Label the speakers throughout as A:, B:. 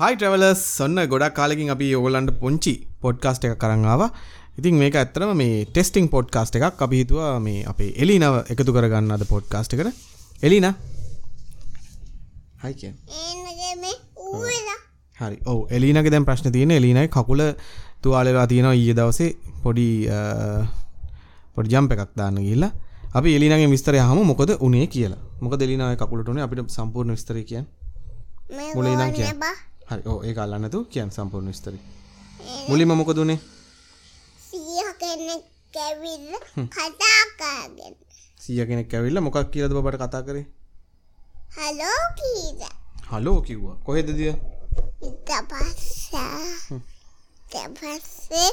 A: හයි travellers සන්න ගොඩක් කාලකින් අපි ඔගොලන්ට පුංචි පොඩ්කාස්ට එක කරන්නාව ඉතින් මේක ඇත්තරම මේ ටෙස්ටිං පොඩ්කාස්ට එකක් අපිහිතුව මේ අපේ එලිනව එකතු කරගන්න අද පොඩ්කාස්ට කර එලින හයි
B: ඒනගම ඌවෙලා
A: හරි ඕ එලිනක දැම් ප්‍රශ්න තියෙන එලිනයි කකුල තුවාලලා තියෙනවා ඊය දවසේ පොඩි පොඩි ජම්ප එකක් දාන්න කියලා අපි එලිනගේ විස්තරය හම මොකද උනේ කියලා මොක දෙලිනය කකුලටනේ අපිට සම්පූර්ණ විස්තර කියන්
B: මේ
A: මුලින් නම් කියන්න.
B: ගෝනබ
A: හරි ඕ ඒ අල්ලන්නතු කියන් සම්පූර්ණ විස්තරි මුලිම මොකදුනේ
B: සිය කෙනෙක් කැවිල්ල කතා කරගෙන
A: සිය කෙනෙක් ඇවිල්ල මොකක් කියලද බට කතා කරේ
B: හලෝ කීද
A: හලෝ කිව්වා කොහෙද දිය
B: ඉත පස්සා තපස්සේ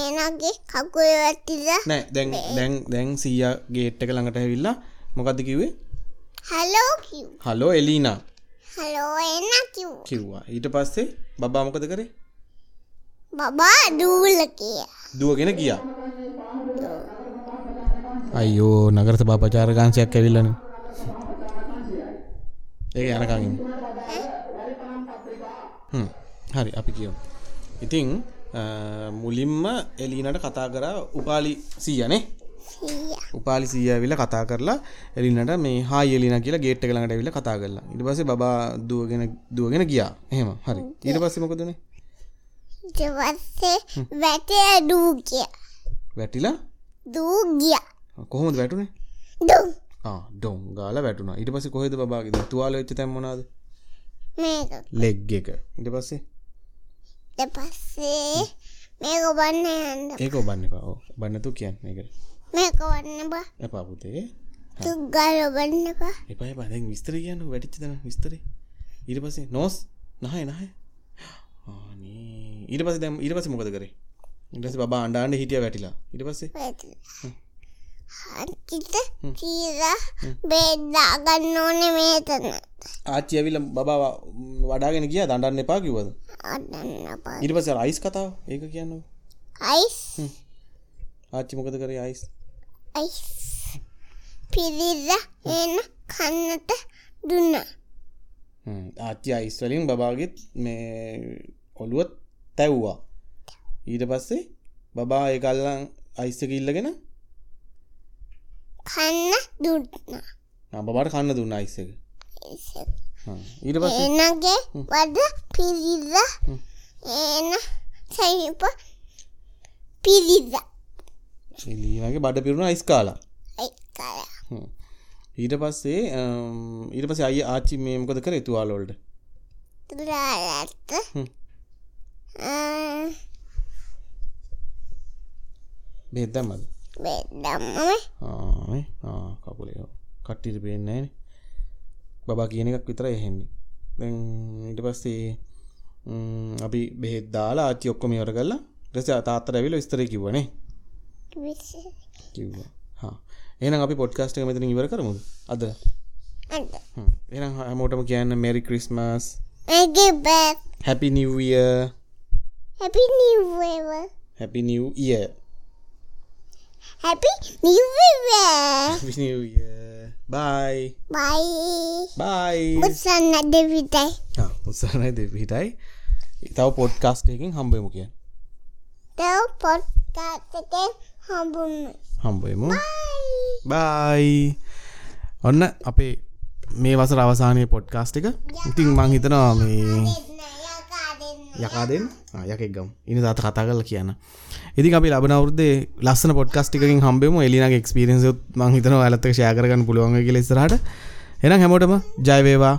B: ඒනගේ කකුලවටිල
A: නෑ දැන් දැන් දැන් සීය ගේට් එක ළඟට ඇවිල්ලා මොකද කිවේ
B: හලෝ කිව්
A: හලෝ එලීනා
B: හලෝ එන්න කිව්
A: කිව්වා ඊට පස්සේ බබා මොකද කරේ
B: බබා දූල කිය
A: දුවගෙන ගියා අයෝ නගරස භාපචාරකාංශයක් ඇවිල්ලන ඒ යනකගින් හරි අපි කියව ඉතිං අ, මුලින්ම එලීනට කතා කරා උපාලි සීයනේ
B: සිය
A: උපාලි සීයවිල කතා කරලා එලිනට මේ හා එලින කියලා ගේට් කළඟට විල කතා කරලා ඉට පසේ බා දුවගෙන දුවගෙන ගියා එහෙම හරි ඊට පස්සෙමකදනේ
B: ඉතවස්සේ වැටය දූ කිය
A: වැටිලා
B: දූ ගිය
A: කොහොමද වැටුනේ
B: දුම්
A: ඩොම් ගාල වැටුන ඉට පස කොහෙද බාගද තුවාල වෙච්ච තැම්මනාද
B: මේක
A: ලෙග් එක ඉට පස්සේ
B: ඊට පස්සේ මේක බන්න යන්න
A: ඒක ඔබන්න පව බන්නතු කියන්න එක
B: මේක වන්න බා
A: එපාපුතේ
B: තුගල් ඔබන්නපා
A: එපයි බදැන් විස්තර කියන්න වැටිච්ච තන විස්තරේ ඉට පසේ නොස් නහය නහය ඉට පස දැම් ඉට පස මොකද කරේ ඉටස බා අන්ඩාන්ඩ හිටිය වැටිලා ඉට පස්සේ
B: හකිත කීලා බෙද්දා ගන්න ඕන මේතන
A: ආච්චි ඇවිල බබා වඩාගෙන කිය දඩන්න එපා කිවද
B: අඩන්න පා
A: ඉට පස අයිස් කතාව ඒක කියන්න
B: අයිස්
A: ආච්චි මොකද කරේ අයිස්
B: අයිස් පිරිල්ල එන කන්නට දුන්න
A: ආච්චි අයිස්වලින් බබාගෙත් මේ ඔළුවත් තැව්වා ඊට පස්සේ බබා ඒකල්ලන් අයිස්සක ඉල්ලගෙන
B: කන්න දුන්න
A: නබබට කන්න දුන්න අයිස්සක ඊට පස්සේ
B: එනගේ වද පිරිල්ල එන සැහිප පිරිල්ල
A: එලීනගේ බඩ පිරුණ අයිස්කාලා
B: එක්කල
A: ඊට පස්සේ අම්, ඊට පස අයි ආච්චි මේමකද කර තුවාලොල්ට
B: තුරාලත්ත
A: හ්ම්. බෙද්දමද
B: බෙදම්මම
A: කපුලේ කට්ටිට පේෙන්නෑ බබා කියන එකක් විතර එහෙන්නේ දැන් ඊට පස්සේ ම්, අපි බෙහෙද්දාලා ආච්චි ඔක්කොම ඉවර කරලා රස අතාත්තර ඇවිල ස්තර කිවනේ
B: විසි
A: කිව්වා හා එනම් අපි පොඩ්කාස්ට එක මෙතන ඉවර කරමුද අද
B: අද
A: හ්ම්. එහෙනම් හැමෝටම කියන්න මෙරි ක්‍රිස්මස්
B: ඇගේ බැත්
A: හැපි නිවිය
B: හැපි නිවව
A: හැපි නිව ඉය
B: හැපි නිවව
A: බයි
B: බයි
A: බයි
B: උත්සන්න දෙවිතයි
A: උත්සාහනයි දෙපිහිටයි තව පොඩ්කාස්ටයකින් හම්බයමු කිය
B: තව පොට්කාතක හඹුම
A: හම්බයමු
B: බයි
A: බයි ඔන්න අපේ මේ වසර අවසානය පොඩ්කාස්ට එක ඉතින් මං හිතනවා මේ යකා දෙන්න ආ, යකෙක් ගම් ඉනි තාත කතා කරල කියන ඉදි අපි ලබන අවුද්දේ ලස්සන පොඩ්කස්ටිකින් හම්බෙම එලිනගේ එක්ස්පිරෙන්සුත් මං හිතන ඇලත්තක ශයකරගන්න පුළුවන් කියලෙස්රට එනම් හැමෝටම ජයවේවා